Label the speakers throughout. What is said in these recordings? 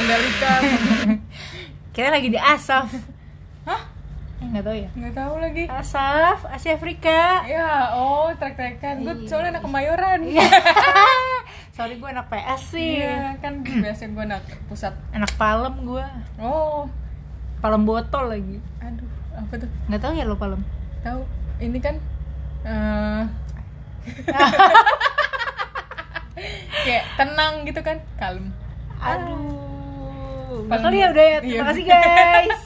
Speaker 1: Ya,
Speaker 2: Kita lagi di Asaf.
Speaker 1: Hah?
Speaker 2: Eh, Nggak tahu ya.
Speaker 1: Nggak tahu lagi.
Speaker 2: Asaf, Asia Afrika.
Speaker 1: Ya, oh, trek-trekan. Gue
Speaker 2: Iya.
Speaker 1: soalnya anak kemayoran.
Speaker 2: Sorry gue anak PS sih.
Speaker 1: Iya, kan biasanya gue anak pusat.
Speaker 2: Anak Palem gue.
Speaker 1: Oh,
Speaker 2: Palem botol lagi.
Speaker 1: aduh, apa tuh?
Speaker 2: Nggak tahu ya lo Palem.
Speaker 1: Tahu? Ini kan eh kayak tenang gitu kan, kalem.
Speaker 2: Aduh.
Speaker 1: Ah. Palem
Speaker 2: Bakal ya udah ya. Terima
Speaker 1: Iya.
Speaker 2: kasih guys.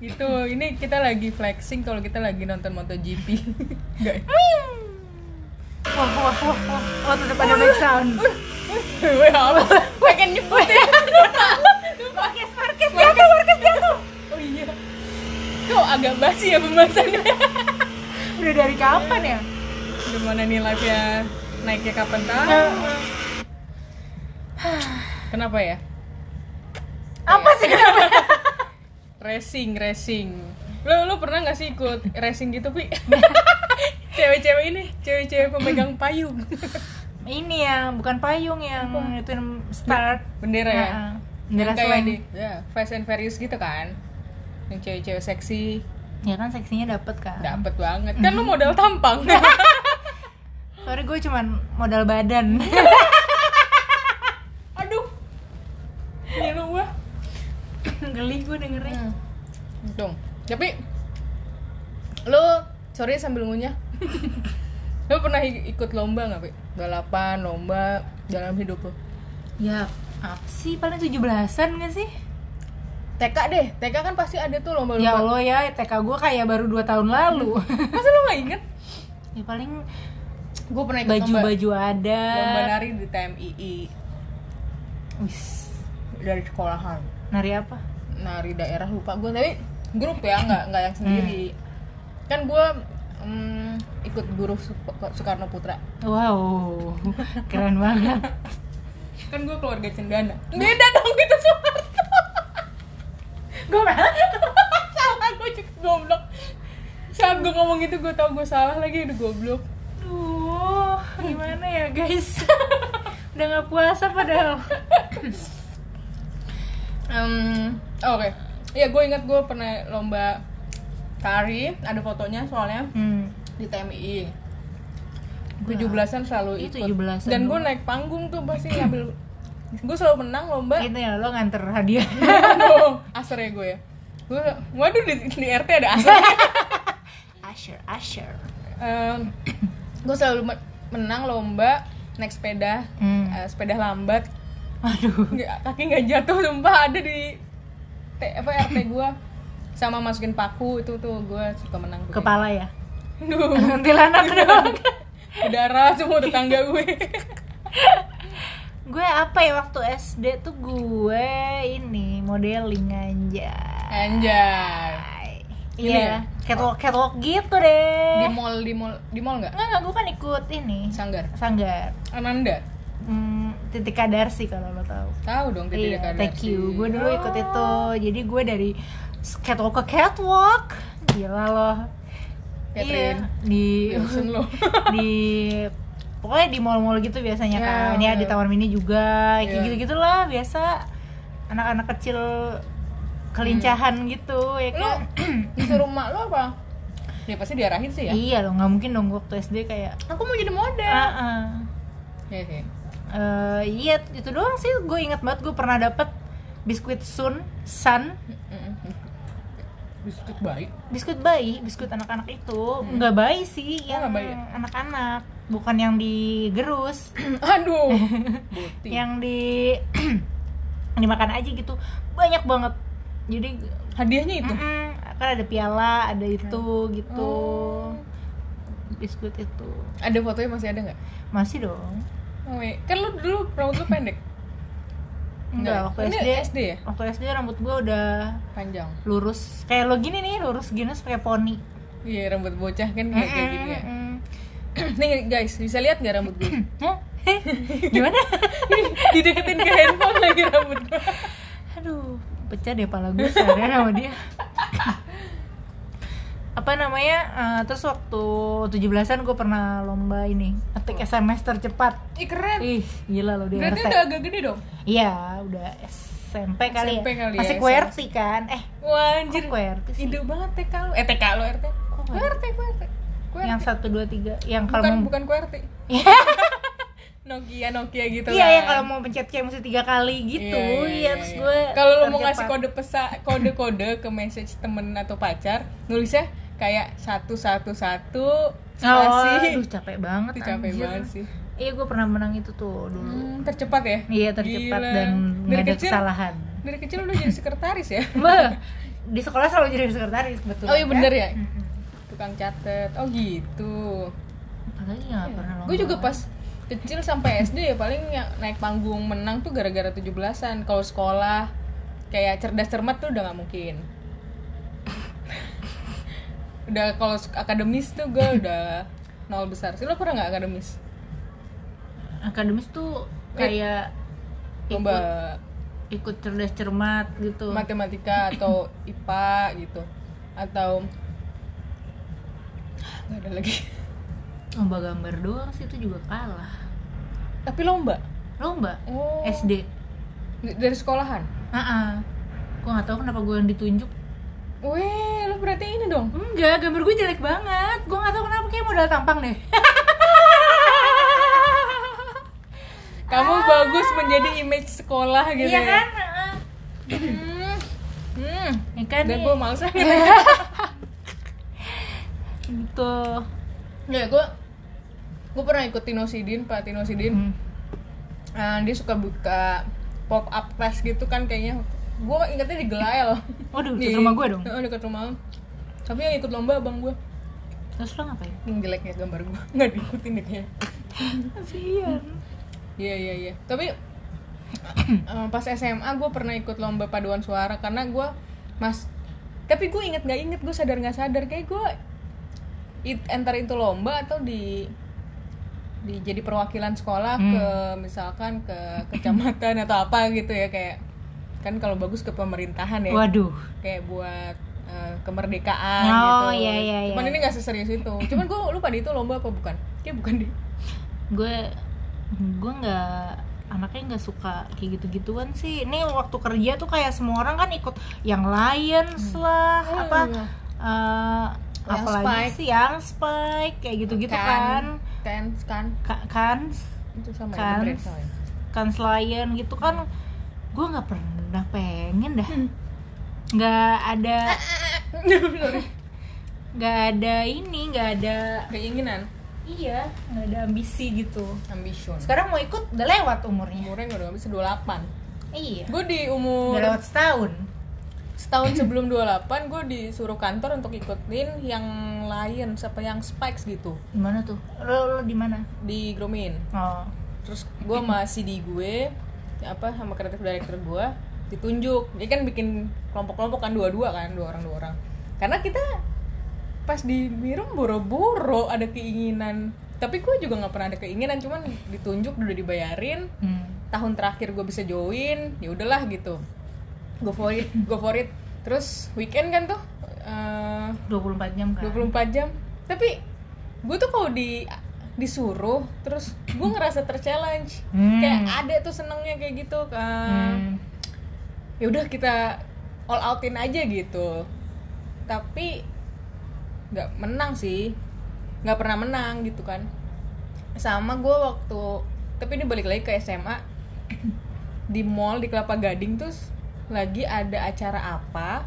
Speaker 1: Gitu, ini kita lagi flexing kalau kita lagi nonton MotoGP. Enggak.
Speaker 2: Wah, wah, wah, wah. Oh, tetap ada back sound.
Speaker 1: Weh, apa? Pengen ya. nyebutin.
Speaker 2: Marques, Marques, jatuh, Marques, jatuh.
Speaker 1: Oh iya. Kok agak basi ya pembahasannya?
Speaker 2: Udah dari kapan
Speaker 1: Iya.
Speaker 2: ya?
Speaker 1: Gimana nih live-nya naiknya kapan tahu?
Speaker 2: Ya.
Speaker 1: Kenapa ya?
Speaker 2: Apa sih?
Speaker 1: Racing, racing. Lo lo pernah nggak sih ikut racing gitu, Pi? cewek-cewek ini, cewek-cewek pemegang payung.
Speaker 2: Ini yang bukan payung yang itu yang start.
Speaker 1: Bendera ya.
Speaker 2: Nah, Bendera
Speaker 1: Yang kayak
Speaker 2: slang.
Speaker 1: di ya, Fast and Furious gitu kan. Yang cewek-cewek seksi,
Speaker 2: Ya kan seksinya dapet kan.
Speaker 1: dapet banget. Kan lo modal tampang.
Speaker 2: Sorry gue cuman modal badan.
Speaker 1: Aduh. Ngilu gua.
Speaker 2: Geli gue dengernya.
Speaker 1: Hmm. Untung. Tapi lo sorry sambil ngunyah. lo pernah i- ikut lomba nggak, Pi? Balapan, lomba dalam hidup lo. Ah,
Speaker 2: Ya apa sih paling 17-an gak sih?
Speaker 1: TK deh, TK kan pasti ada tuh lomba-lomba.
Speaker 2: Ya Allah ya, TK gue kayak baru 2 tahun lalu.
Speaker 1: Masa lo gak inget?
Speaker 2: ya paling
Speaker 1: Gue pernah ikut lomba,
Speaker 2: baju-baju ada.
Speaker 1: lomba nari di TMII
Speaker 2: Wis,
Speaker 1: dari sekolahan.
Speaker 2: nari apa?
Speaker 1: Nari daerah lupa gue, tapi grup ya, nggak nggak yang sendiri. Kan gue ikut guru Sup- Soekarno Putra.
Speaker 2: Wow, keren banget.
Speaker 1: Kan gue keluarga cendana. Beda dong gitu, kita Soekarno. gue salah gue juga goblok. Saat gue ngomong gitu gue tau gue salah lagi udah goblok.
Speaker 2: Duh, gimana ya guys? Udah nggak puasa padahal.
Speaker 1: Em, Oke, ya gue ingat gue pernah lomba tari, ada fotonya soalnya
Speaker 2: Hmm.
Speaker 1: di TMI. 17-an selalu
Speaker 2: Iya,
Speaker 1: ikut.
Speaker 2: 17-an
Speaker 1: Dan gue
Speaker 2: dulu.
Speaker 1: naik panggung tuh pasti ngambil. gue selalu menang lomba.
Speaker 2: Itu ya lo nganter hadiah.
Speaker 1: Aduh, Aser ya gue ya. Gue, waduh di, di RT ada aser.
Speaker 2: Asher, Asher.
Speaker 1: Em, gue selalu men- menang lomba naik sepeda,
Speaker 2: Hmm.
Speaker 1: eh, sepeda lambat.
Speaker 2: Aduh.
Speaker 1: Nggak- kaki nggak jatuh sumpah ada di T, apa RT gue sama masukin paku itu tuh gue suka menang tuh.
Speaker 2: Kepala ya. Gitu.
Speaker 1: Duh,
Speaker 2: Kuntilanak dong.
Speaker 1: darah semua tetangga gue.
Speaker 2: gue apa ya waktu SD tuh gue ini modeling aja.
Speaker 1: Anjay. Ini ya?
Speaker 2: Iya, catwalk catwalk gitu
Speaker 1: Di
Speaker 2: deh.
Speaker 1: mall, di mall, di mall nggak?
Speaker 2: Enggak, enggak, gue kan ikut ini
Speaker 1: Sanggar.
Speaker 2: Sanggar
Speaker 1: Ananda.
Speaker 2: hmm, Titik Kadarsi kalau lo tahu
Speaker 1: Tahu dong
Speaker 2: Iya,
Speaker 1: tidak ada.
Speaker 2: thank you. Gue dulu ikut itu.
Speaker 1: Oh.
Speaker 2: Jadi gue dari catwalk ke catwalk. Gila loh.
Speaker 1: Catherine.
Speaker 2: Iya, di
Speaker 1: Wilson lo.
Speaker 2: di pokoknya di mall-mall gitu biasanya
Speaker 1: Ya,
Speaker 2: kan. Ya di Taman Mini juga. Kayak
Speaker 1: Iya.
Speaker 2: gitu-gitulah biasa anak-anak kecil kelincahan
Speaker 1: Hmm.
Speaker 2: gitu ya
Speaker 1: Lo
Speaker 2: kan.
Speaker 1: disuruh mak lo apa? Ya pasti diarahin sih ya.
Speaker 2: Iya loh, nggak mungkin dong gua waktu SD kayak
Speaker 1: Aku mau jadi model.
Speaker 2: ah
Speaker 1: Iya sih.
Speaker 2: Eh, iya itu doang sih gue inget banget gue pernah dapet biskuit sun sun
Speaker 1: Mm-mm. Biskuit baik.
Speaker 2: biskuit bayi biskuit anak-anak itu nggak bayi sih yang
Speaker 1: Hmm. nggak bayi ya?
Speaker 2: anak-anak bukan yang digerus
Speaker 1: Aduh. Boti.
Speaker 2: yang di dimakan aja gitu banyak banget jadi
Speaker 1: Hadiahnya itu.
Speaker 2: mm-mm, kan ada piala ada itu gitu
Speaker 1: Oh.
Speaker 2: biskuit itu
Speaker 1: Ada fotonya masih ada nggak?
Speaker 2: masih dong
Speaker 1: Wait. Kan lo dulu rambut lo pendek. ya?
Speaker 2: Enggak, waktu
Speaker 1: Ini
Speaker 2: SD,
Speaker 1: SD ya?
Speaker 2: waktu SD rambut gue udah
Speaker 1: Panjang.
Speaker 2: lurus kayak lo gini nih lurus gini terus pakai poni
Speaker 1: Iya rambut bocah kan kayak kayak gini ya.
Speaker 2: Mm-mm.
Speaker 1: Nih guys bisa lihat nggak rambut gue?
Speaker 2: Hah? Heh? gimana
Speaker 1: Dideketin ke handphone lagi rambut gue.
Speaker 2: aduh pecah deh pala gue seharian sama dia apa namanya eh, terus waktu 17-an gue pernah lomba ini ngetik SMS tercepat
Speaker 1: Ih keren.
Speaker 2: ih gila lo dia
Speaker 1: Berarti
Speaker 2: ngerti.
Speaker 1: udah agak gede dong.
Speaker 2: iya udah S SMP kali
Speaker 1: SMP
Speaker 2: ya
Speaker 1: kali ya,
Speaker 2: masih
Speaker 1: SMP.
Speaker 2: QWERTY kan eh
Speaker 1: Wah anjir
Speaker 2: Kok QWERTY sih?
Speaker 1: Hidup banget TK lu Eh TK lu RT
Speaker 2: Kok
Speaker 1: Gue
Speaker 2: QWERTY?
Speaker 1: RT gue RT Gue
Speaker 2: yang
Speaker 1: RT.
Speaker 2: satu dua tiga yang kalau
Speaker 1: Bukan,
Speaker 2: mau-
Speaker 1: bukan gue RT Nokia, Nokia gitu
Speaker 2: iya
Speaker 1: kan.
Speaker 2: yang kalau mau pencet kayak mesti tiga kali gitu
Speaker 1: Iya,
Speaker 2: iya,
Speaker 1: iya, iya,
Speaker 2: terus
Speaker 1: iya.
Speaker 2: gue
Speaker 1: kalau lo mau
Speaker 2: target
Speaker 1: ngasih
Speaker 2: part-
Speaker 1: kode pesa kode kode ke message temen atau pacar nulisnya kayak satu satu satu
Speaker 2: Oh,
Speaker 1: spasi
Speaker 2: aduh capek banget
Speaker 1: itu capek
Speaker 2: anjir.
Speaker 1: banget sih
Speaker 2: Iya, gue pernah menang itu tuh dulu.
Speaker 1: Hmm, tercepat ya
Speaker 2: Iya, tercepat
Speaker 1: Gila.
Speaker 2: dan
Speaker 1: dari
Speaker 2: nggak ada
Speaker 1: kecil
Speaker 2: kesalahan.
Speaker 1: dari kecil udah jadi sekretaris ya
Speaker 2: Mbak, di sekolah selalu jadi sekretaris betul. Hmm.
Speaker 1: oh iya bener ya
Speaker 2: Mm-mm.
Speaker 1: tukang catet oh gitu
Speaker 2: Apalagi nggak pernah lomba.
Speaker 1: gue Iya. juga pas kecil sampai SD ya paling yang naik panggung menang tuh gara-gara 17-an kalau sekolah kayak cerdas cermat tuh udah nggak mungkin udah kalau sek- akademis tuh gue udah nol besar sih lo pernah nggak akademis
Speaker 2: akademis tuh kayak ikut,
Speaker 1: lomba
Speaker 2: ikut cerdas cermat gitu.
Speaker 1: matematika atau ipa gitu atau nggak ada lagi
Speaker 2: Lomba gambar doang sih itu juga kalah.
Speaker 1: tapi lomba
Speaker 2: Lomba
Speaker 1: oh
Speaker 2: SD.
Speaker 1: dari sekolahan
Speaker 2: Heeh. Gue nggak tahu kenapa gue yang ditunjuk.
Speaker 1: Weh, lo berarti ini dong
Speaker 2: Enggak, gambar gue jelek banget. Gue nggak tahu kenapa kayak modal tampang deh.
Speaker 1: Kamu bagus menjadi image sekolah gitu
Speaker 2: iya
Speaker 1: ya.
Speaker 2: kan?
Speaker 1: Hmm. Hmm.
Speaker 2: Iya kan?
Speaker 1: Dan
Speaker 2: nih?
Speaker 1: gue males aja.
Speaker 2: gitu.
Speaker 1: ya gue gue pernah ikut Tino Sidin, Pak Tino Sidin.
Speaker 2: Hmm.
Speaker 1: Eh, dia suka buka pop up class gitu kan kayaknya. Gue ingetnya di Gelael.
Speaker 2: Waduh,
Speaker 1: Di-
Speaker 2: di rumah gue dong.
Speaker 1: Heeh, dekat rumah. Tapi yang ikut lomba abang gue.
Speaker 2: Terus lo ngapain?
Speaker 1: Yang jeleknya gambar gue nggak diikutin deh kayaknya.
Speaker 2: Kasihan.
Speaker 1: Iya iya iya. Tapi eh, pas SMA gue pernah ikut lomba paduan suara karena gue mas. Tapi gue inget nggak inget gue sadar nggak sadar kayak gue it, entar itu lomba atau di di jadi perwakilan sekolah ke misalkan ke kecamatan atau apa gitu ya kayak kan kalau bagus ke pemerintahan ya
Speaker 2: Waduh.
Speaker 1: kayak buat eh, kemerdekaan
Speaker 2: Oh,
Speaker 1: gitu.
Speaker 2: iya, iya,
Speaker 1: Cuman ini
Speaker 2: iya.
Speaker 1: nggak seserius itu. Cuman gue lupa di itu lomba apa bukan? Kayak bukan deh.
Speaker 2: Gue gue nggak anaknya nggak suka kayak gitu-gituan sih. Ini waktu kerja tuh kayak semua orang kan ikut yang Lions lah, apa
Speaker 1: Iya.
Speaker 2: eh,
Speaker 1: Yang
Speaker 2: apalagi
Speaker 1: Spike.
Speaker 2: sih Hmm. yang Spike kayak gitu-gitu kan.
Speaker 1: kan kan
Speaker 2: Ka- kan
Speaker 1: itu sama ya,
Speaker 2: Kan.
Speaker 1: brand sama ya.
Speaker 2: kan Lion gitu kan gue nggak pernah pengen dah. Nggak ada nggak ada ini, nggak ada
Speaker 1: keinginan
Speaker 2: iya, nggak ada ambisi gitu.
Speaker 1: ambition
Speaker 2: Sekarang mau ikut udah lewat umurnya.
Speaker 1: umurnya udah habis 28
Speaker 2: Iya.
Speaker 1: gue di
Speaker 2: Udah
Speaker 1: umur
Speaker 2: lewat setahun.
Speaker 1: setahun sebelum 28 gue disuruh kantor untuk ikutin yang Lions apa yang Spikes gitu
Speaker 2: Gimana tuh? Lo, lo di mana?
Speaker 1: di Gromin
Speaker 2: Oh.
Speaker 1: terus gue masih di gue apa sama kreatif director gue ditunjuk dia kan bikin kelompok-kelompok kan dua-dua kan dua orang dua orang karena kita pas di Mirum boro-boro ada keinginan tapi gue juga nggak pernah ada keinginan cuman ditunjuk udah dibayarin
Speaker 2: Hmm.
Speaker 1: tahun terakhir gue bisa join ya udahlah gitu go for it go for it terus weekend kan tuh eh,
Speaker 2: 24 jam kan.
Speaker 1: 24 jam tapi gue tuh kalau di disuruh terus gue ngerasa terchallenge
Speaker 2: Hmm.
Speaker 1: kayak ada tuh senengnya kayak gitu kan
Speaker 2: Hmm.
Speaker 1: ya udah kita all outin aja gitu tapi nggak menang sih nggak pernah menang gitu kan sama gue waktu tapi ini balik lagi ke SMA di mall di Kelapa Gading tuh lagi ada acara apa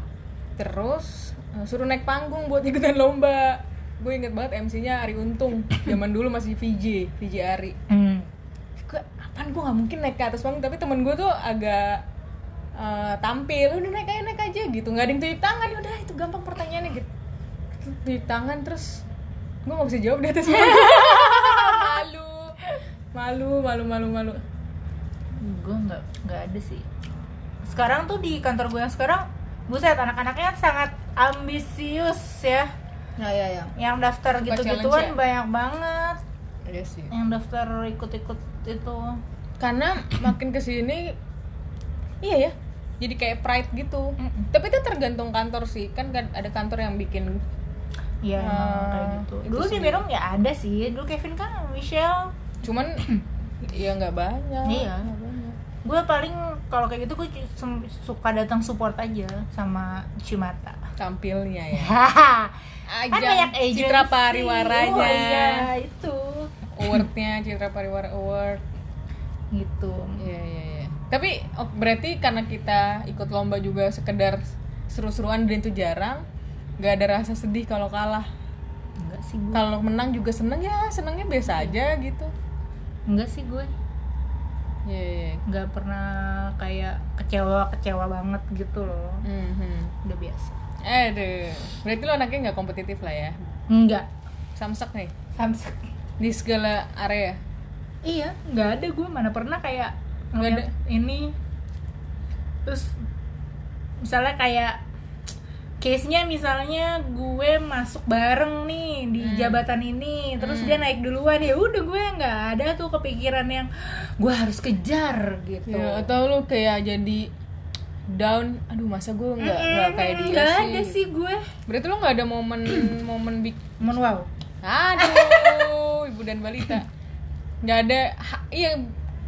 Speaker 1: terus eh, suruh naik panggung buat ikutan lomba gue inget banget MC-nya Ari Untung zaman dulu masih VJ VJ Ari
Speaker 2: Hmm.
Speaker 1: gue apaan gue nggak mungkin naik ke atas panggung tapi temen gue tuh agak eh, tampil udah naik aja naik aja gitu nggak ada yang tunjuk tangan udah itu gampang pertanyaannya gitu tunjuk tangan terus gue nggak bisa jawab di atas panggung malu malu malu malu malu
Speaker 2: Gue nggak nggak ada sih. Sekarang tuh di kantor gue yang sekarang, buset anak-anaknya sangat ambisius ya.
Speaker 1: ya ya ya
Speaker 2: Yang daftar
Speaker 1: Suka
Speaker 2: gitu-gituan
Speaker 1: challenge ya?
Speaker 2: banyak banget.
Speaker 1: iya sih
Speaker 2: Yang daftar ikut-ikut itu.
Speaker 1: karena makin kesini iya ya jadi kayak pride gitu
Speaker 2: Mm-mm.
Speaker 1: tapi itu tergantung kantor sih kan kan ada kantor yang bikin
Speaker 2: Iya emang
Speaker 1: Ah,
Speaker 2: kayak gitu.
Speaker 1: itu
Speaker 2: Dulu di
Speaker 1: sih.
Speaker 2: Merum ya ada sih. Dulu Kevin kan Michelle.
Speaker 1: cuman ya nggak banyak
Speaker 2: Iya.
Speaker 1: Nggak banyak.
Speaker 2: Gue paling kalau kayak gitu gue cu- sem- suka datang support aja sama Cimata.
Speaker 1: tampilnya ya
Speaker 2: kan banyak agency.
Speaker 1: Citra
Speaker 2: Oh,
Speaker 1: Pariwaranya
Speaker 2: iya, itu.
Speaker 1: awardnya Citra Pariwara Award
Speaker 2: Gitu.
Speaker 1: Iya iya iya. Tapi oh, berarti karena kita ikut lomba juga sekedar seru-seruan dan itu jarang, nggak ada rasa sedih kalau kalah.
Speaker 2: Enggak sih gue.
Speaker 1: Kalau menang juga seneng ya, senengnya biasa aja gitu.
Speaker 2: Enggak sih gue.
Speaker 1: Iya iya.
Speaker 2: Enggak pernah kayak kecewa-kecewa banget gitu loh.
Speaker 1: Mhm.
Speaker 2: Udah biasa.
Speaker 1: Aduh, berarti lo anaknya nggak kompetitif lah ya.
Speaker 2: Enggak.
Speaker 1: Samsak nih
Speaker 2: Samsak.
Speaker 1: di segala area.
Speaker 2: Iya, nggak ada gue mana pernah kayak
Speaker 1: Nggak
Speaker 2: ngeliat ini terus misalnya kayak case-nya misalnya gue masuk bareng nih di
Speaker 1: Hmm.
Speaker 2: jabatan ini terus
Speaker 1: Hmm.
Speaker 2: dia naik duluan ya udah gue nggak ada tuh kepikiran yang gue harus kejar gitu
Speaker 1: Ya, atau lo kayak jadi down, aduh masa gue nggak nggak
Speaker 2: Mm,
Speaker 1: kayak dia
Speaker 2: nggak
Speaker 1: sih.
Speaker 2: ada sih gue
Speaker 1: Berarti lo nggak ada momen momen big
Speaker 2: Mon wow
Speaker 1: Aduh, ibu dan balita. Nggak ada, ha- iya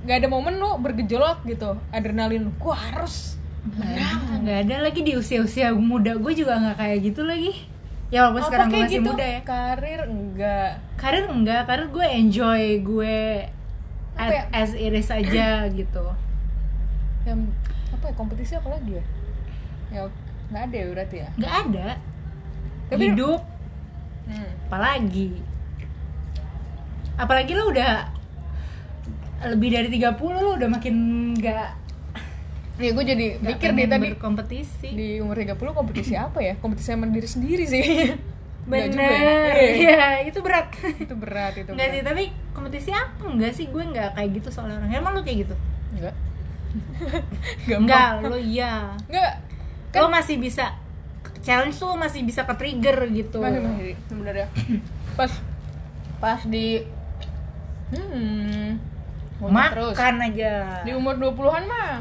Speaker 1: nggak ada momen lu bergejolak gitu, adrenalin lu, gua harus.
Speaker 2: nggak ada, nggak ada lagi di usia-usia muda gue juga nggak kayak gitu lagi ya
Speaker 1: Apa
Speaker 2: walaupun sekarang gue
Speaker 1: kayak gitu?"
Speaker 2: masih muda ya
Speaker 1: Karir enggak.
Speaker 2: karir enggak karir gue enjoy gue
Speaker 1: Apa ya?
Speaker 2: at- as it is aja gitu
Speaker 1: Yang apa ya kompetisi apa lagi ya? Ya nggak ada ya berarti ya.
Speaker 2: nggak ada
Speaker 1: Tapi-
Speaker 2: hidup
Speaker 1: Hmm.
Speaker 2: apalagi apalagi lo udah lebih dari 30 lo udah makin nggak
Speaker 1: Ya gue jadi
Speaker 2: nggak
Speaker 1: mikir deh
Speaker 2: pengen
Speaker 1: tadi
Speaker 2: berkompetisi
Speaker 1: di umur 30 kompetisi apa ya? Kompetisi sama diri sendiri sih. Nggak juga ya?
Speaker 2: bener
Speaker 1: Iya.
Speaker 2: iya itu berat
Speaker 1: Itu berat itu.
Speaker 2: nggak sih
Speaker 1: berat.
Speaker 2: tapi kompetisi apa enggak sih gue nggak kayak gitu soalnya orang emang lo kayak gitu
Speaker 1: Enggak.
Speaker 2: enggak lo iya
Speaker 1: Enggak. Kan
Speaker 2: lo masih bisa challenge tuh lo masih bisa ke trigger gitu
Speaker 1: masih masih sebenarnya pas pas di hmm monyet terus
Speaker 2: makan aja
Speaker 1: di umur 20-an mah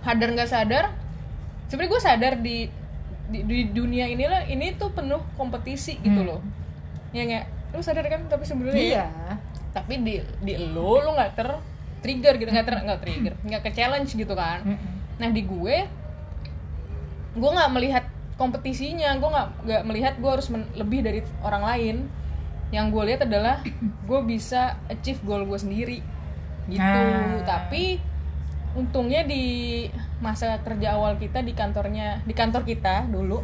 Speaker 1: sadar nggak sadar sebenarnya gue sadar di, di di dunia inilah ini tuh penuh kompetisi gitu
Speaker 2: Hmm.
Speaker 1: loh ya nggak lu sadar kan tapi sebelumnya ya?
Speaker 2: iya
Speaker 1: tapi di di lo lu nggak ter trigger gitu nggak ter nggak trigger nggak ke challenge gitu
Speaker 2: Hmm.
Speaker 1: kan Nah di gue, gue nggak melihat kompetisinya, gue nggak nggak melihat gue harus men- lebih dari orang lain. Yang gue lihat adalah gue bisa achieve goal gue sendiri, gitu.
Speaker 2: Nah.
Speaker 1: Tapi untungnya di masa kerja awal kita di kantornya di kantor kita dulu,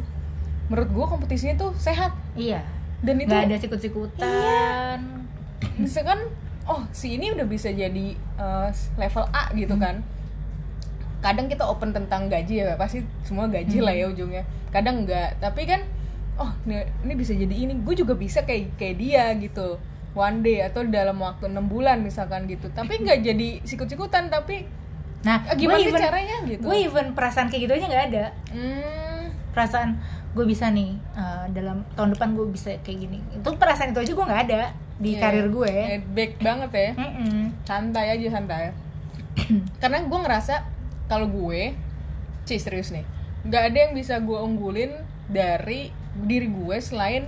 Speaker 1: menurut gue kompetisinya tuh sehat
Speaker 2: iya
Speaker 1: dan itu
Speaker 2: nggak ada sikut-sikutan
Speaker 1: Iya. misalkan oh si ini udah bisa jadi uh, level A gitu kan kadang kita open tentang gaji ya pasti semua gaji lah
Speaker 2: Hmm.
Speaker 1: ya ujungnya kadang enggak tapi kan oh ini, ini bisa jadi ini gue juga bisa kayak kayak dia gitu one day atau dalam waktu enam bulan misalkan gitu tapi nggak jadi sikut-sikutan tapi
Speaker 2: nah
Speaker 1: "Ah,
Speaker 2: gue
Speaker 1: gimana sih
Speaker 2: even-
Speaker 1: caranya gitu
Speaker 2: gue even perasaan kayak gitu aja nggak ada
Speaker 1: Hmm,
Speaker 2: perasaan gue bisa nih eh, dalam tahun depan gue bisa kayak gini itu perasaan itu aja gue nggak ada di
Speaker 1: ya,
Speaker 2: karir gue
Speaker 1: ya, baik banget ya
Speaker 2: Mm-mm.
Speaker 1: santai aja santai karena gue ngerasa kalau gue cis serius nih nggak ada yang bisa gue unggulin dari diri gue selain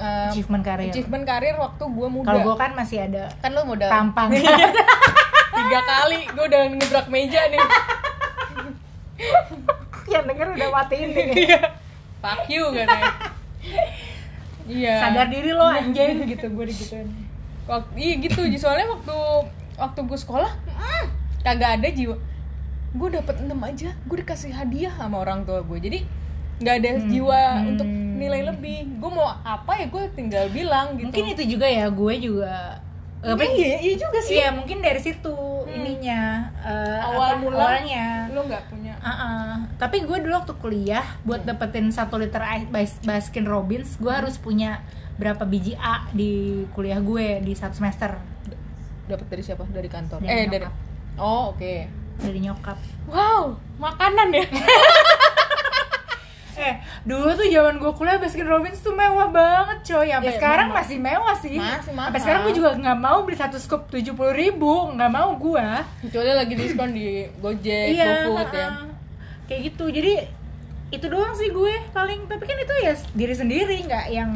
Speaker 1: um,
Speaker 2: achievement karir
Speaker 1: achievement karir waktu gue muda
Speaker 2: kalau gue kan masih ada
Speaker 1: kan lo modal
Speaker 2: tampang
Speaker 1: Iya. tiga kali gue udah ngedrak meja nih
Speaker 2: yang denger udah matiin nih
Speaker 1: Iya. fuck you katanya iya
Speaker 2: sadar diri lo anjing gitu gue digituin
Speaker 1: Wak- iya gitu Ji. soalnya waktu waktu gue sekolah mm, kagak ada jiwa gue dapet 6 aja gue dikasih hadiah sama orang tua gue jadi nggak ada
Speaker 2: Hmm,
Speaker 1: jiwa untuk nilai lebih gue mau apa ya gue tinggal bilang gitu
Speaker 2: mungkin itu juga ya gue juga
Speaker 1: Iya,
Speaker 2: apa
Speaker 1: iya iya juga sih
Speaker 2: Iya mungkin dari situ ininya eh,
Speaker 1: Awal
Speaker 2: apa,
Speaker 1: mula.
Speaker 2: awalnya.
Speaker 1: lo nggak punya
Speaker 2: Ah-ah. Tapi gue dulu waktu kuliah buat dapetin satu liter ice- bas- Baskin Robbins, gue harus punya berapa biji A di kuliah gue di satu semester
Speaker 1: dapet dari siapa dari kantor
Speaker 2: Dari
Speaker 1: eh
Speaker 2: nyokap.
Speaker 1: dari oh oke
Speaker 2: dari nyokap.
Speaker 1: wow makanan ya
Speaker 2: Eh dulu tuh zaman gue kuliah Baskin Robbins tuh mewah banget coy. Sampai
Speaker 1: Iya,
Speaker 2: sekarang
Speaker 1: memang.
Speaker 2: masih mewah sih.
Speaker 1: Masih mahal.
Speaker 2: Sampai sekarang gue juga nggak mau beli satu scoop tujuh puluh ribu, nggak mau gue.
Speaker 1: kecuali lagi diskon di Gojek
Speaker 2: Iya,
Speaker 1: GoFood ya
Speaker 2: heeh. kayak gitu jadi itu doang sih gue paling tapi kan itu ya diri sendiri nggak yang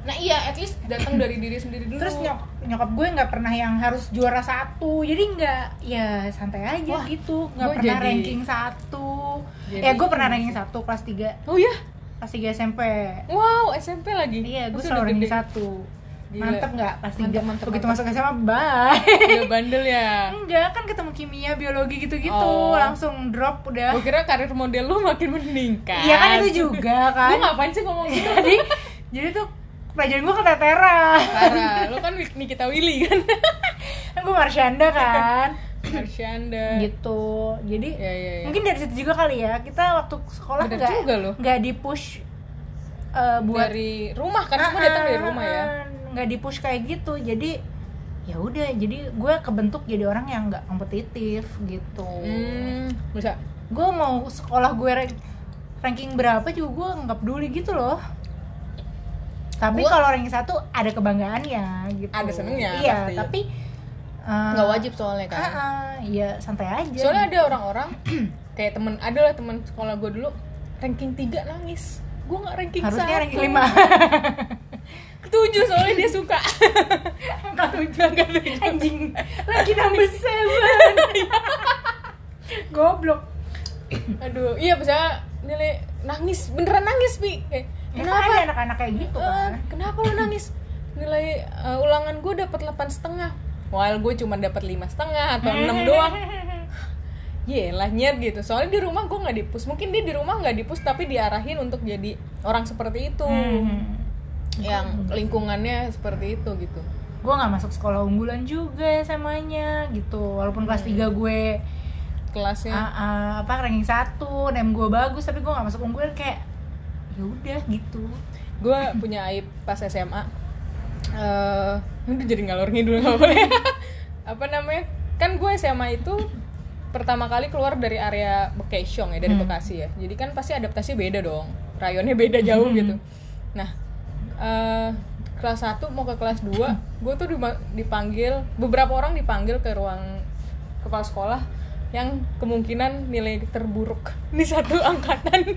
Speaker 1: nah iya at least datang dari diri sendiri dulu
Speaker 2: terus nyok nyokap gue nggak pernah yang harus juara satu jadi nggak ya santai aja
Speaker 1: Wah,
Speaker 2: gitu nggak
Speaker 1: gue
Speaker 2: pernah
Speaker 1: jadi-
Speaker 2: ranking satu
Speaker 1: Jadi-
Speaker 2: ya gue pernah ranking satu kelas 3
Speaker 1: oh iya
Speaker 2: kelas 3 SMP
Speaker 1: wow SMP lagi
Speaker 2: iya gue
Speaker 1: Terus udah
Speaker 2: selalu ranking
Speaker 1: gede.
Speaker 2: satu
Speaker 1: Gila.
Speaker 2: mantep nggak kelas tiga
Speaker 1: Mantep, mantep,
Speaker 2: begitu
Speaker 1: mantep.
Speaker 2: masuk SMA bye
Speaker 1: Udah bandel ya
Speaker 2: enggak kan ketemu kimia biologi gitu-gitu
Speaker 1: Oh.
Speaker 2: langsung drop udah
Speaker 1: Gue kira karir model lu makin meningkat
Speaker 2: iya kan itu juga
Speaker 1: Lu
Speaker 2: kan
Speaker 1: ngapain sih ngomong gitu?
Speaker 2: jadi jadi tuh pelajaran gue keteteran
Speaker 1: Parah, lu kan Nikita Willy kan?
Speaker 2: kan gue Marsyanda kan
Speaker 1: Marsyanda
Speaker 2: gitu jadi
Speaker 1: Ya, ya, ya.
Speaker 2: mungkin dari situ juga kali ya kita waktu sekolah
Speaker 1: Bener
Speaker 2: nggak
Speaker 1: juga loh.
Speaker 2: nggak di push buat Ah,
Speaker 1: dari rumah kan semua datang dari rumah ya
Speaker 2: nggak di push kayak gitu jadi ya udah jadi gue kebentuk jadi orang yang nggak kompetitif gitu
Speaker 1: Hmm, bisa
Speaker 2: gue mau sekolah gue rank- ranking berapa juga gue nggak peduli gitu loh tapi
Speaker 1: Gua-
Speaker 2: kalau ranking satu ada kebanggaannya gitu
Speaker 1: Ada senengnya,
Speaker 2: iya
Speaker 1: pasti.
Speaker 2: tapi eh,
Speaker 1: nggak wajib soalnya kan
Speaker 2: ah, ah, iya santai aja
Speaker 1: soalnya ada orang-orang kayak temen adalah temen sekolah gue dulu ranking 3 nangis gue nggak ranking
Speaker 2: harusnya
Speaker 1: satu.
Speaker 2: ranking lima
Speaker 1: ketujuh soalnya dia suka
Speaker 2: angka tujuh anjing lagi number seven goblok
Speaker 1: aduh iya bisa nilai nangis beneran nangis pi kayak,
Speaker 2: kenapa
Speaker 1: kenapa
Speaker 2: Ya, ada anak-anak kayak gitu kan
Speaker 1: Eh, kenapa lo nangis nilai eh, ulangan gue dapat 8,5 setengah while gue cuma dapat lima setengah atau 6 doang Yelah nyet gitu Soalnya di rumah gue nggak dipus Mungkin dia di rumah nggak dipus Tapi diarahin untuk jadi orang seperti itu
Speaker 2: Hmm,
Speaker 1: Yang lingkungannya seperti itu gitu
Speaker 2: gue nggak masuk sekolah unggulan juga samanya gitu walaupun kelas 3 gue
Speaker 1: Kelasnya
Speaker 2: ah, ah, apa ranking satu nem gue bagus tapi gue nggak masuk unggulan kayak ya udah gitu
Speaker 1: Gue punya aib pas SMA eh Aduh jadi ngalor ngidul nggak boleh Apa namanya Kan gue SMA itu Pertama kali keluar dari area Bekasiong ya Dari Bekasi ya Jadi kan pasti adaptasi beda dong Rayonnya beda jauh gitu Nah eh kelas 1 mau ke kelas 2 gue tuh dima- dipanggil beberapa orang dipanggil ke ruang kepala sekolah yang kemungkinan nilai terburuk di satu angkatan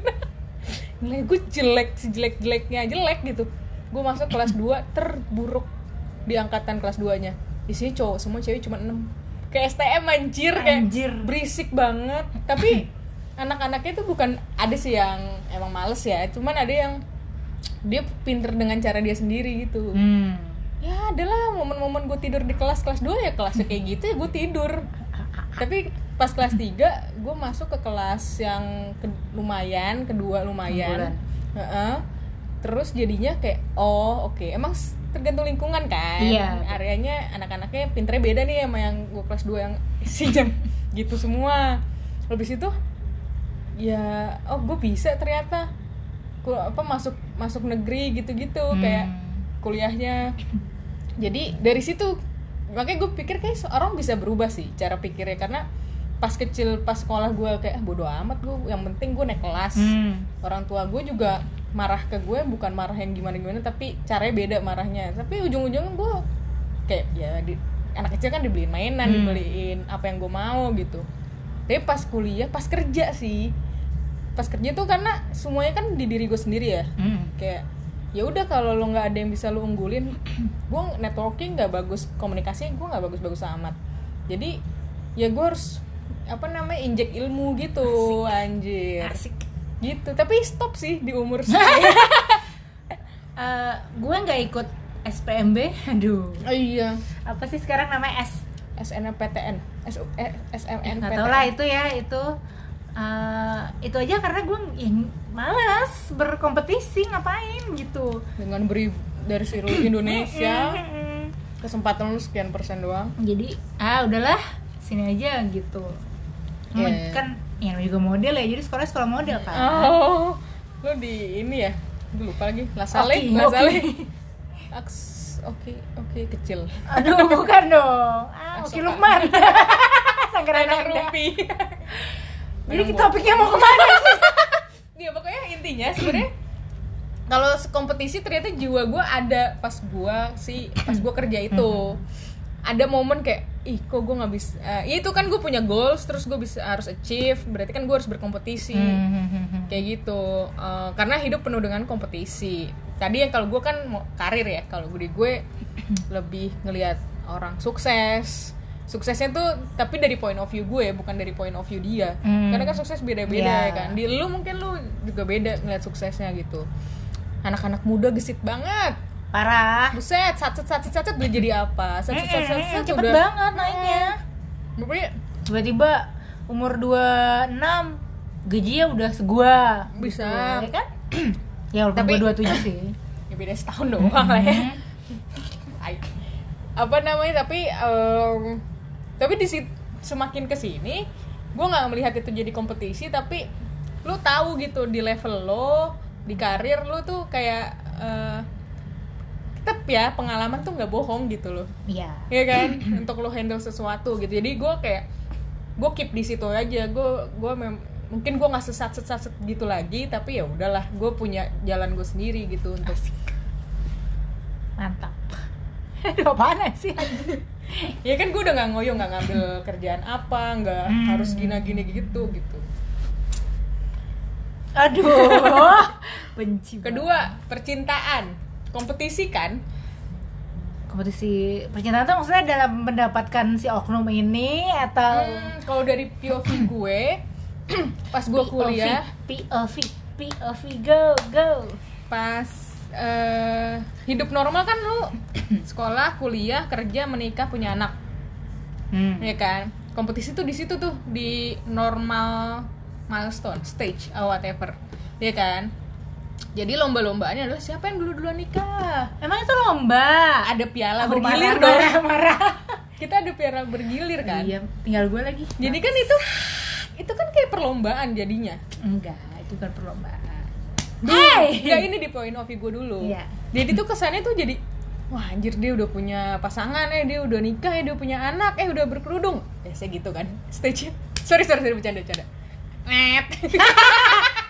Speaker 1: nilai gue jelek sejelek jeleknya jelek gitu gue masuk kelas 2 terburuk di angkatan kelas 2 nya isinya cowok semua cewek cuma 6 kayak STM anjir kayak
Speaker 2: Anjir.
Speaker 1: berisik banget tapi anak-anaknya tuh bukan ada sih yang emang males ya cuman ada yang dia pinter dengan cara dia sendiri gitu
Speaker 2: hmm.
Speaker 1: ya adalah momen-momen gue tidur di kelas kelas 2 ya kelasnya kayak gitu ya gue tidur tapi pas kelas 3 gue masuk ke kelas yang ke- lumayan kedua lumayan
Speaker 2: Unggulan.
Speaker 1: Heeh. terus jadinya kayak oh oke emang s- tergantung lingkungan kan
Speaker 2: Iya.
Speaker 1: areanya anak-anaknya pinternya beda nih sama yang gue kelas 2 yang si jam gitu semua habis itu ya oh gue bisa ternyata gue apa masuk masuk negeri gitu-gitu kayak kuliahnya jadi dari situ makanya gue pikir kayak se- orang bisa berubah sih cara pikirnya karena pas kecil pas sekolah gue kayak ah, bodo amat gue yang penting gue naik kelas
Speaker 2: Hmm.
Speaker 1: orang tua gue juga marah ke gue bukan marah yang gimana gimana tapi caranya beda marahnya tapi ujung-ujungnya gue kayak ya di- anak kecil kan dibeliin mainan
Speaker 2: Hmm.
Speaker 1: dibeliin apa yang gue mau gitu tapi pas kuliah pas kerja sih pas kerja tuh karena semuanya kan di diri gue sendiri ya
Speaker 2: Hmm.
Speaker 1: kayak ya udah kalau lo nggak ada yang bisa lo unggulin gue networking nggak bagus komunikasi gue nggak bagus-bagus amat jadi ya gue harus apa namanya injek ilmu gitu anjir
Speaker 2: asik
Speaker 1: gitu tapi stop sih di umur saya
Speaker 2: Eh, gue nggak ikut SPMB aduh
Speaker 1: oh, iya
Speaker 2: apa sih sekarang namanya S
Speaker 1: SNMPTN S- eh, SMNPTN
Speaker 2: nggak tau lah itu ya itu eh, itu aja karena gue males berkompetisi ngapain gitu Mm-hmm.
Speaker 1: dengan beri dari seluruh Indonesia
Speaker 2: Mm-mm.
Speaker 1: kesempatan lu sekian persen doang
Speaker 2: jadi ah udahlah sini aja gitu
Speaker 1: Iya,
Speaker 2: Mau-
Speaker 1: iya.
Speaker 2: kan yang juga model ya jadi sekolah sekolah model kan
Speaker 1: oh lu di ini ya gue lupa lagi Lasale
Speaker 2: Oke,
Speaker 1: Lasale
Speaker 2: oke.
Speaker 1: Aks- oke oke kecil
Speaker 2: aduh bukan dong ah oke
Speaker 1: Asoka.
Speaker 2: Lukman sanggaran
Speaker 1: anak
Speaker 2: Anda.
Speaker 1: rumpi
Speaker 2: jadi topiknya mau kemana
Speaker 1: ya pokoknya intinya sebenarnya kalau se- kompetisi ternyata jiwa gue ada pas gue si pas gue kerja itu ada momen kayak ih kok gue nggak bisa eh, ya itu kan gue punya goals terus gue bisa harus achieve berarti Hmm, Mm. kan gue harus berkompetisi kayak gitu Eh, karena hidup penuh dengan kompetisi tadi yang kalau gue kan mau karir ya kalau gue di gue lebih ngelihat orang sukses suksesnya tuh tapi dari point of view gue bukan dari point of view dia
Speaker 2: Hmm.
Speaker 1: karena kan sukses beda-beda ya
Speaker 2: Iya.
Speaker 1: kan di lu mungkin lu juga beda ngelihat suksesnya gitu anak-anak muda gesit banget
Speaker 2: parah
Speaker 1: buset satset satset satset udah jadi apa satset satset satset,
Speaker 2: Mm-mm,
Speaker 1: satset
Speaker 2: cepet
Speaker 1: udah Hmm.
Speaker 2: banget naiknya
Speaker 1: Pokoknya
Speaker 2: tiba-tiba umur 26 gajinya udah segua
Speaker 1: Bisa.
Speaker 2: Gitu, ya kan ya walaupun
Speaker 1: Tapi-
Speaker 2: gua 27 sih Hmm.
Speaker 1: ya beda setahun doang lah ya Ay. apa namanya tapi em, tapi di sit- semakin kesini gue nggak melihat itu jadi kompetisi tapi lu tahu gitu di level lo di karir lu tuh kayak eh, tetep ya pengalaman tuh nggak bohong gitu loh
Speaker 2: iya
Speaker 1: ya kan untuk lo handle sesuatu gitu jadi gue kayak gue keep di situ aja gue gue mem- mungkin gue nggak sesat sesat gitu lagi tapi ya udahlah gue punya jalan gue sendiri gitu untuk
Speaker 2: mantap Aduh, apaan sih?
Speaker 1: ya kan gue udah nggak ngoyo nggak ngambil kerjaan apa nggak
Speaker 2: Hmm.
Speaker 1: harus gini gini gitu gitu
Speaker 2: Aduh, benci. banget.
Speaker 1: kedua percintaan kompetisi kan
Speaker 2: kompetisi percintaan tuh maksudnya dalam mendapatkan si oknum ini atau
Speaker 1: Hmm, kalau dari POV gue pas gue Hmm. kuliah
Speaker 2: POV, POV, go, go.
Speaker 1: pas eh, hidup normal kan lu sekolah kuliah kerja menikah punya anak
Speaker 2: Hmm.
Speaker 1: ya kan kompetisi tuh di situ tuh di normal milestone stage or whatever ya kan jadi lomba-lombaannya adalah siapa yang dulu-duluan nikah
Speaker 2: Emang itu lomba?
Speaker 1: ada piala
Speaker 2: Aku
Speaker 1: bergilir
Speaker 2: marah,
Speaker 1: dong
Speaker 2: marah,
Speaker 1: kita ada piala bergilir kan
Speaker 2: Iya, tinggal gue lagi.
Speaker 1: jadi kan itu itu kan kayak perlombaan jadinya
Speaker 2: enggak, itu kan perlombaan.
Speaker 1: ya ini di point of view gue dulu
Speaker 2: Iya.
Speaker 1: jadi tuh kesannya tuh jadi wah anjir dia udah punya pasangan eh dia udah nikah eh dia punya anak eh udah berkerudung biasa gitu kan stage sorry sorry sorry bercanda bercanda net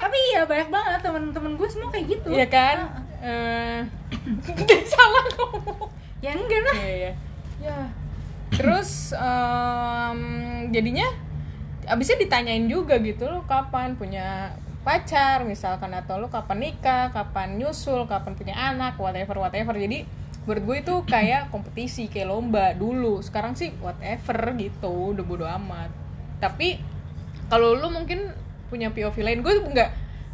Speaker 2: Tapi iya banyak banget teman-teman gue semua kayak gitu.
Speaker 1: Iya kan? Eh, salah ngomong.
Speaker 2: Ya enggak lah.
Speaker 1: Iya, iya. Ya. Terus em, jadinya abisnya ditanyain juga gitu lo kapan punya pacar misalkan atau lo kapan nikah, kapan nyusul, kapan punya anak, whatever whatever. Jadi menurut gue itu kayak kompetisi, kayak lomba dulu. Sekarang sih whatever gitu, udah bodo amat. Tapi kalau lu mungkin punya POV lain, gue nggak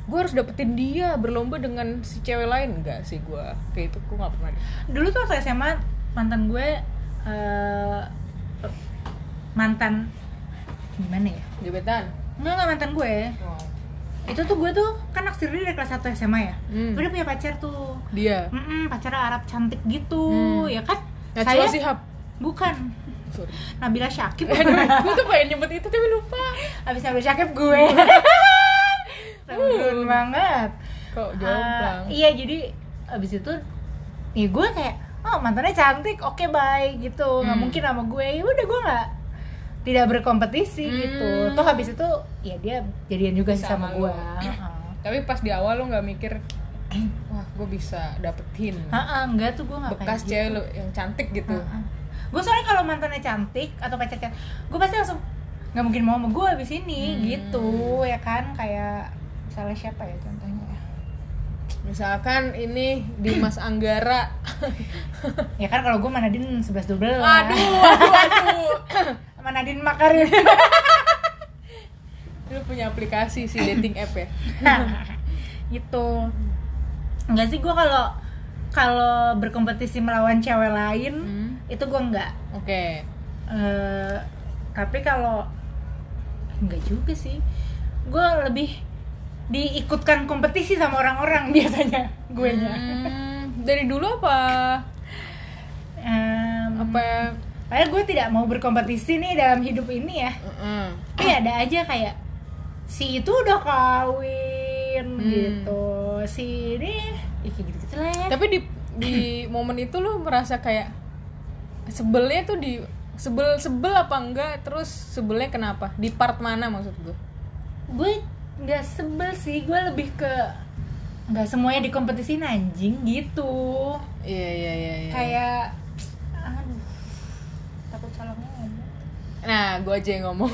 Speaker 1: gue harus dapetin dia berlomba dengan si cewek lain enggak sih gue kayak itu gue nggak pernah deh.
Speaker 2: Dulu tuh waktu SMA mantan gue eh, mantan gimana ya?
Speaker 1: gebetan
Speaker 2: Enggak, enggak mantan gue. Itu tuh gue tuh kan naksir dia dari kelas 1 SMA ya.
Speaker 1: Hmm.
Speaker 2: Gue udah punya pacar tuh.
Speaker 1: dia
Speaker 2: Mm-mm, pacarnya Arab cantik gitu,
Speaker 1: Hmm.
Speaker 2: ya kan?
Speaker 1: Najwa
Speaker 2: Saya
Speaker 1: Shihab
Speaker 2: bukan
Speaker 1: sorry
Speaker 2: Nabila Syakib.
Speaker 1: gue tuh pengen nyebut itu tapi lupa
Speaker 2: Abis Nabila Syakib gue.
Speaker 1: Hmm.
Speaker 2: Sembun
Speaker 1: Uh.
Speaker 2: banget.
Speaker 1: kok
Speaker 2: Ah,
Speaker 1: jomplang
Speaker 2: iya, jadi abis itu ya gue kayak oh mantannya cantik, oke bye gitu. nggak
Speaker 1: Hmm.
Speaker 2: mungkin sama gue. Ya udah gue nggak tidak berkompetisi
Speaker 1: Hmm.
Speaker 2: gitu. Toh habis itu ya dia jadian juga sih
Speaker 1: Sama
Speaker 2: sama,
Speaker 1: lu.
Speaker 2: gue. Heeh.
Speaker 1: tapi pas di awal lo nggak mikir wah gue bisa dapetin
Speaker 2: Heeh, enggak tuh gue nggak
Speaker 1: bekas
Speaker 2: kayak gitu.
Speaker 1: cewek lo yang cantik gitu
Speaker 2: Gue soalnya kalau mantannya cantik atau pacar cantik, gue pasti langsung nggak mungkin mau sama gue abis ini
Speaker 1: Hmm.
Speaker 2: gitu ya kan kayak misalnya siapa ya contohnya ya
Speaker 1: misalkan ini Dimas Anggara
Speaker 2: ya kan kalau gue Manadin 11 12
Speaker 1: aduh aduh aduh
Speaker 2: Manadin Makarin
Speaker 1: lu punya aplikasi si dating app ya
Speaker 2: gitu enggak sih gue kalau kalau berkompetisi melawan cewek lain
Speaker 1: Hmm.
Speaker 2: itu gue enggak
Speaker 1: oke
Speaker 2: Eh, tapi kalau enggak juga sih gue lebih diikutkan kompetisi sama orang-orang biasanya gue nya
Speaker 1: Hmm, dari dulu apa
Speaker 2: Hmm.
Speaker 1: apa ya?
Speaker 2: Padahal gue tidak mau berkompetisi nih dalam hidup ini ya
Speaker 1: Mm-mm.
Speaker 2: Tapi ada aja kayak Si itu udah kawin
Speaker 1: Hmm.
Speaker 2: gitu Si ini ya kayak gitu-gitu lah ya
Speaker 1: tapi di di momen itu lu merasa kayak sebelnya tuh di sebel sebel apa enggak terus sebelnya kenapa di part mana maksud gue
Speaker 2: Gue nggak sebel sih, gue lebih ke nggak semuanya dikompetisiin anjing gitu
Speaker 1: iya iya iya iya.
Speaker 2: Kayak, aduh Takut salah ngomong
Speaker 1: nah gue aja yang ngomong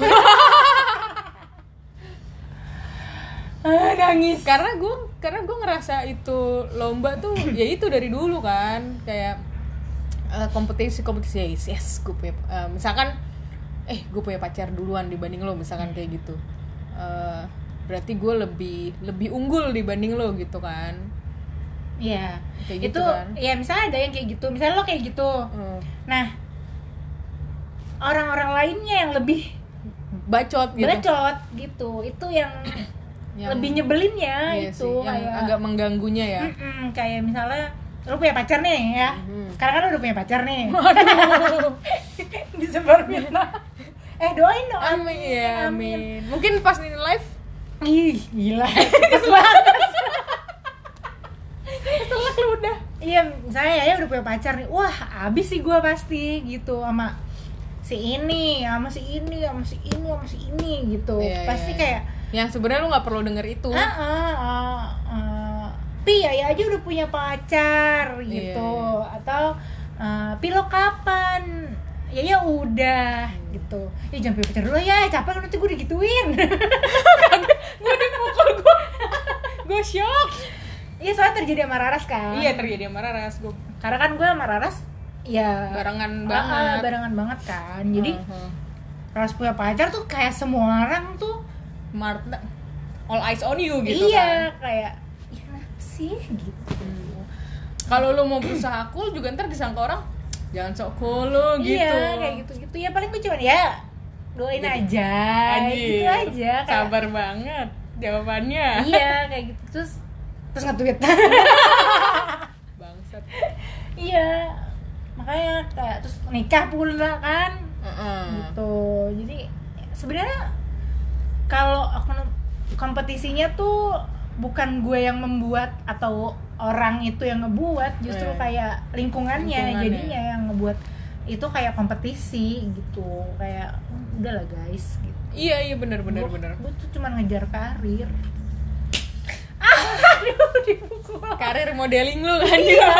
Speaker 3: ah, nangis
Speaker 1: karena gue karena gue ngerasa itu lomba tuh ya itu dari dulu kan kayak eh, kompetisi kompetisi ya yes, yes gue punya eh, misalkan eh gue punya pacar duluan dibanding lo misalkan kayak gitu Eh, berarti gue lebih lebih unggul dibanding lo gitu kan
Speaker 2: Iya.
Speaker 1: Kayak gitu
Speaker 2: itu
Speaker 1: kan.
Speaker 2: ya misalnya ada yang kayak gitu misalnya lo kayak gitu
Speaker 1: Eh,
Speaker 2: nah orang-orang lainnya yang lebih
Speaker 1: bacot gitu
Speaker 2: berecot gitu itu yang,
Speaker 1: Yang-
Speaker 2: lebih nyebelin ya
Speaker 1: Iya
Speaker 2: itu
Speaker 1: sih, yang
Speaker 2: kayak
Speaker 1: agak mengganggunya ya
Speaker 2: Mm-mm, kayak misalnya lo punya pacar nih ya
Speaker 1: Mhm.
Speaker 2: sekarang kan lo udah punya pacar nih disebar fitnah eh doain dong
Speaker 1: amin ya amin mungkin pas di live
Speaker 2: ih gila Cepet banget.
Speaker 1: telak lu udah
Speaker 2: iya misalnya ya udah punya pacar nih wah abis sih gua pasti gitu sama si ini sama si ini sama si ini sama si ini gitu
Speaker 1: Iya,
Speaker 2: pasti
Speaker 1: iya,
Speaker 2: kayak
Speaker 1: yang sebenarnya lu nggak perlu denger itu
Speaker 2: ah ah ah, ah. pi ya aja udah punya pacar
Speaker 3: Iya,
Speaker 2: gitu atau eh, pi lo kapan ya ya udah
Speaker 3: Hmm.
Speaker 2: gitu ya jangan punya pacar dulu ya capek nanti gue digituin
Speaker 3: gue dipukul gue gue shock
Speaker 2: iya soalnya terjadi sama Raras kan
Speaker 3: iya terjadi sama Raras gue
Speaker 2: karena kan gue sama Raras ya
Speaker 1: Barengan
Speaker 2: ah,
Speaker 1: banget. Ah,
Speaker 2: ah, barengan banget kan
Speaker 3: Hmm.
Speaker 2: jadi Raras punya pacar tuh kayak semua orang tuh
Speaker 1: Marta
Speaker 3: all eyes on you gitu kan Hmm.
Speaker 2: iya kayak ya kenapa sih gitu
Speaker 1: kalau lu mau berusaha cool juga ntar disangka orang jangan sok cool lu gitu
Speaker 2: Iya, kayak gitu-gitu. Ya paling gue cuman ya doain aja.
Speaker 3: Anjir,
Speaker 2: Gitu aja kayak
Speaker 3: sabar banget jawabannya
Speaker 2: Iya, kayak gitu. Terus terus nge-tweet.
Speaker 1: bangsat
Speaker 2: iya. Makanya kayak terus nikah pula kan.
Speaker 1: Ah, Hmm.
Speaker 2: Gitu. Jadi sebenarnya kalau aku nem- kompetisinya tuh bukan gue yang membuat atau orang itu yang ngebuat, justru
Speaker 1: Eh.
Speaker 2: kayak lingkungannya,
Speaker 1: Lingkungannya.
Speaker 2: jadinya yang ngebuat itu kayak kompetisi gitu. Kayak udahlah guys gitu.
Speaker 1: iya iya bener bener bener
Speaker 2: gue tuh cuma ngejar karir
Speaker 1: karir modeling lu kan iya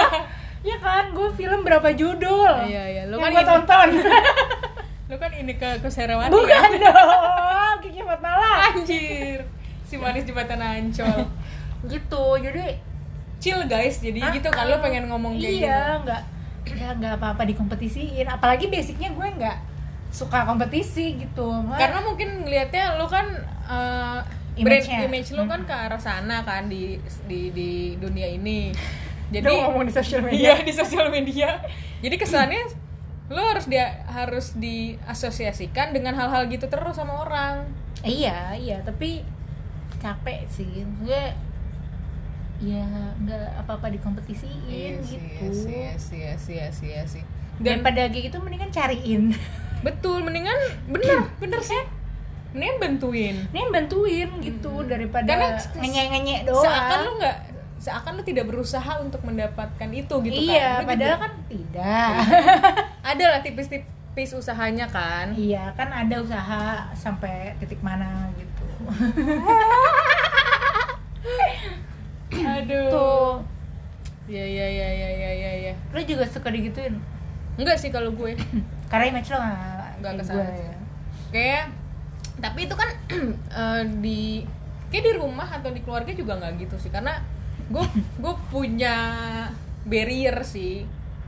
Speaker 2: ya kan gue film berapa judul
Speaker 1: iya iya lu kan
Speaker 2: yang gue
Speaker 1: ini-
Speaker 2: tonton
Speaker 1: lu kan ini ke ke Serawati ya?
Speaker 2: bukan dong Kiki
Speaker 1: Ah.
Speaker 2: Fatmala
Speaker 1: anjir si manis jembatan ancol
Speaker 2: gitu jadi
Speaker 1: chill guys jadi gitu kan lu pengen ngomong kayak
Speaker 2: Ah, iya nggak ya nggak apa-apa dikompetisiin apalagi basicnya gue nggak suka kompetisi gitu
Speaker 1: gitu
Speaker 2: Mak.
Speaker 1: karena mungkin ngelihatnya lu kan eh, brand
Speaker 2: Image-nya. Hmm.
Speaker 1: image lu kan ke arah sana kan di di di dunia ini jadi
Speaker 2: Udah ngomong di sosial media
Speaker 1: Iya di sosial media. Jadi kesannya lo harus dia harus diasosiasikan dengan hal-hal gitu terus sama orang.
Speaker 2: iya iya tapi capek sih gue ya nggak apa-apa dikompetisiin gitu
Speaker 1: Iya sih, iya sih, iya sih, iya sih. Dan
Speaker 2: daripada kayak gitu mendingan cariin
Speaker 1: betul mendingan bener bener sih. Mendingan bantuin.
Speaker 2: ini yang bantuin gitu daripada
Speaker 1: Hmm. Karena
Speaker 2: ngenyek ngenyek doang
Speaker 1: Seakan lo nggak seakan lo tidak berusaha untuk mendapatkan itu gitu Iya. kan.
Speaker 2: iya
Speaker 1: Lo
Speaker 2: padahal
Speaker 1: juga-
Speaker 2: kan tidak
Speaker 1: ada lah tipis-tipis usahanya kan.
Speaker 2: iya kan ada usaha sampai titik mana gitu
Speaker 1: Aduh.
Speaker 2: tuh
Speaker 1: Iya iya iya iya iya iya. Ya.
Speaker 2: lo juga suka digituin
Speaker 1: Enggak sih kalau gue.
Speaker 2: karena image lo nggak
Speaker 1: Nggak
Speaker 2: kayak ya.
Speaker 1: kesana.
Speaker 2: gue.
Speaker 1: kayak tapi itu kan eh, di kayak di rumah atau di keluarga juga nggak gitu sih karena gue gue punya barrier sih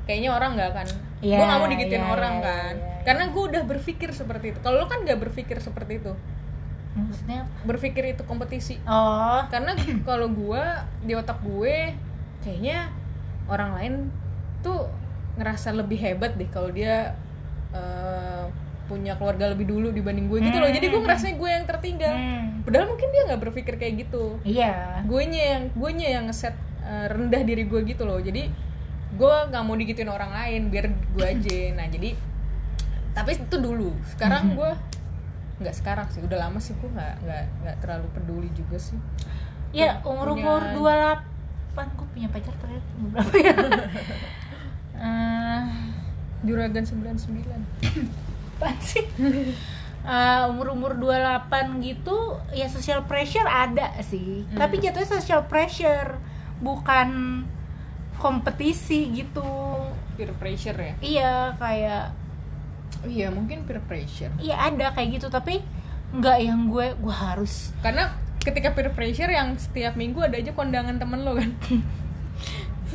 Speaker 1: kayaknya orang nggak akan
Speaker 2: Iya,
Speaker 1: gue nggak mau digituin
Speaker 2: iya,
Speaker 1: orang
Speaker 2: iya,
Speaker 1: kan
Speaker 2: iya, iya.
Speaker 1: karena gue udah berpikir seperti itu kalau lo kan nggak berpikir seperti itu
Speaker 2: maksudnya
Speaker 1: berpikir itu kompetisi
Speaker 2: oh
Speaker 1: karena kalau gue di otak gue kayaknya orang lain tuh ngerasa lebih hebat deh kalau dia eh, punya keluarga lebih dulu dibanding gue gitu loh jadi gue ngerasa gue yang tertinggal
Speaker 2: hmm,
Speaker 1: padahal mungkin dia nggak berpikir kayak gitu
Speaker 2: iya
Speaker 1: gue yang gue yang ngeset eh, rendah diri gue gitu loh jadi gue nggak mau digituin orang lain biar gue aja nah jadi tapi itu dulu sekarang gue nggak sekarang sih udah lama sih gue nggak nggak nggak terlalu peduli juga sih
Speaker 2: ya umur umur
Speaker 1: Punya-
Speaker 2: dua delapan gue punya pacar terakhir umur berapa ya Eh,
Speaker 1: Juragan 99
Speaker 2: apaan sih? Eh, umur-umur 28 gitu ya social pressure ada sih.
Speaker 1: Hmm.
Speaker 2: Tapi jatuhnya social pressure bukan kompetisi gitu.
Speaker 1: Peer pressure ya?
Speaker 2: Iya, kayak
Speaker 1: Iya mungkin peer pressure
Speaker 2: iya ada kayak gitu tapi nggak yang gue gue harus
Speaker 1: Karena ketika peer pressure yang setiap minggu ada aja kondangan temen lo kan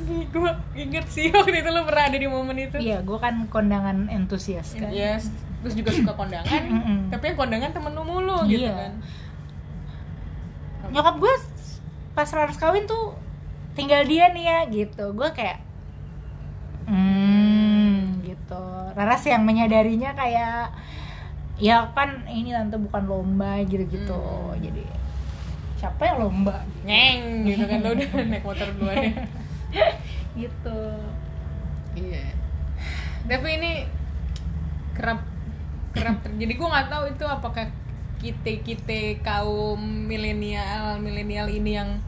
Speaker 1: gue inget sih waktu itu lo pernah ada di momen itu
Speaker 2: Iya, gue kan kondangan entusias kan.
Speaker 1: yes terus juga suka kondangan
Speaker 2: Mm-mm.
Speaker 1: tapi yang kondangan temen lo mulu gitu
Speaker 2: Iya.
Speaker 1: kan
Speaker 2: Nyokap gue pas harus kawin tuh tinggal dia nih ya gitu. Gue kayak hmm gitu. Raras yang menyadarinya kayak ya kan ini tante bukan lomba gitu-gitu. Jadi siapa yang lomba
Speaker 1: nyeng gitu kan lo udah naik motor duluan ya
Speaker 2: gitu.
Speaker 1: iya tapi ini kerap kerap terjadi gue nggak tahu itu apakah kita kita kaum milenial milenial ini yang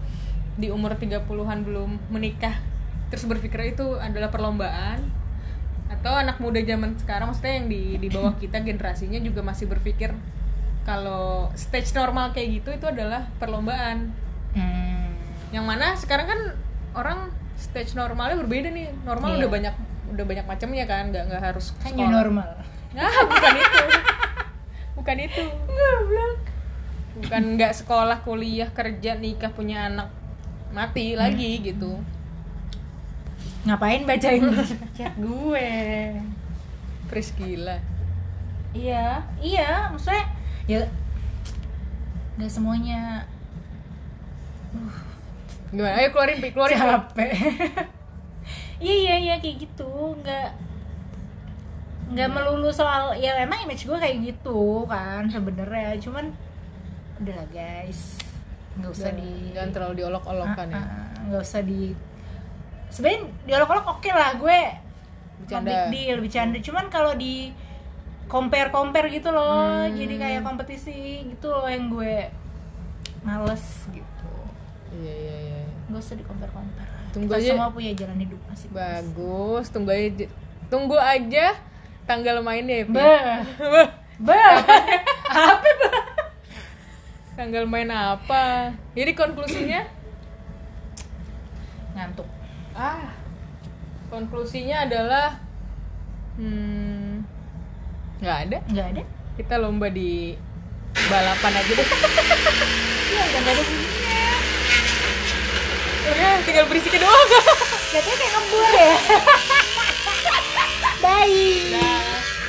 Speaker 1: di umur 30-an belum menikah terus berpikir itu adalah perlombaan atau anak muda zaman sekarang maksudnya yang di di bawah kita generasinya juga masih berpikir kalau stage normal kayak gitu itu adalah perlombaan
Speaker 2: Hmm.
Speaker 1: yang mana sekarang kan orang stage normalnya berbeda nih normal
Speaker 2: Iya.
Speaker 1: udah banyak udah banyak macamnya kan nggak nggak harus
Speaker 2: Kan
Speaker 1: sekolah.
Speaker 2: new normal.
Speaker 1: Nah, bukan itu bukan itu bukan nggak sekolah kuliah kerja nikah punya anak mati
Speaker 2: Hmm.
Speaker 1: lagi gitu
Speaker 2: Ngapain bacain chat gue?
Speaker 1: Pris gila
Speaker 2: Iya, iya, maksudnya ya nggak semuanya
Speaker 1: gimana ayo keluarin Pi, keluarin
Speaker 2: capek iya iya iya kayak gitu nggak nggak melulu soal ya emang image gue kayak gitu kan sebenarnya cuman udah lah, guys nggak usah
Speaker 1: jangan,
Speaker 2: di
Speaker 1: jangan terlalu diolok-olokan ya
Speaker 2: Ah, ah, nggak usah di sebenarnya diolok-olok oke lah gue
Speaker 1: Bercanda.
Speaker 2: no big deal bercanda cuman kalau di compare compare gitu loh jadi kayak
Speaker 1: Hmm.
Speaker 2: kompetisi gitu loh yang gue males gitu
Speaker 1: iya iya iya
Speaker 2: nggak usah di compare compare
Speaker 1: Tunggu
Speaker 2: Kita
Speaker 1: aja.
Speaker 2: semua punya jalan hidup masih
Speaker 1: bagus tunggu aja tunggu aja tanggal mainnya ya Pi.
Speaker 2: bah apa
Speaker 1: tanggal main apa jadi konklusinya
Speaker 2: ngantuk
Speaker 1: ah konklusinya adalah hmm nggak ada
Speaker 2: nggak ada
Speaker 1: kita lomba di balapan aja deh
Speaker 2: iya nggak ada bunyinya
Speaker 1: udah Iya, tinggal berisikin doang
Speaker 2: jatuhnya kayak ngebul ya bye
Speaker 1: Dah.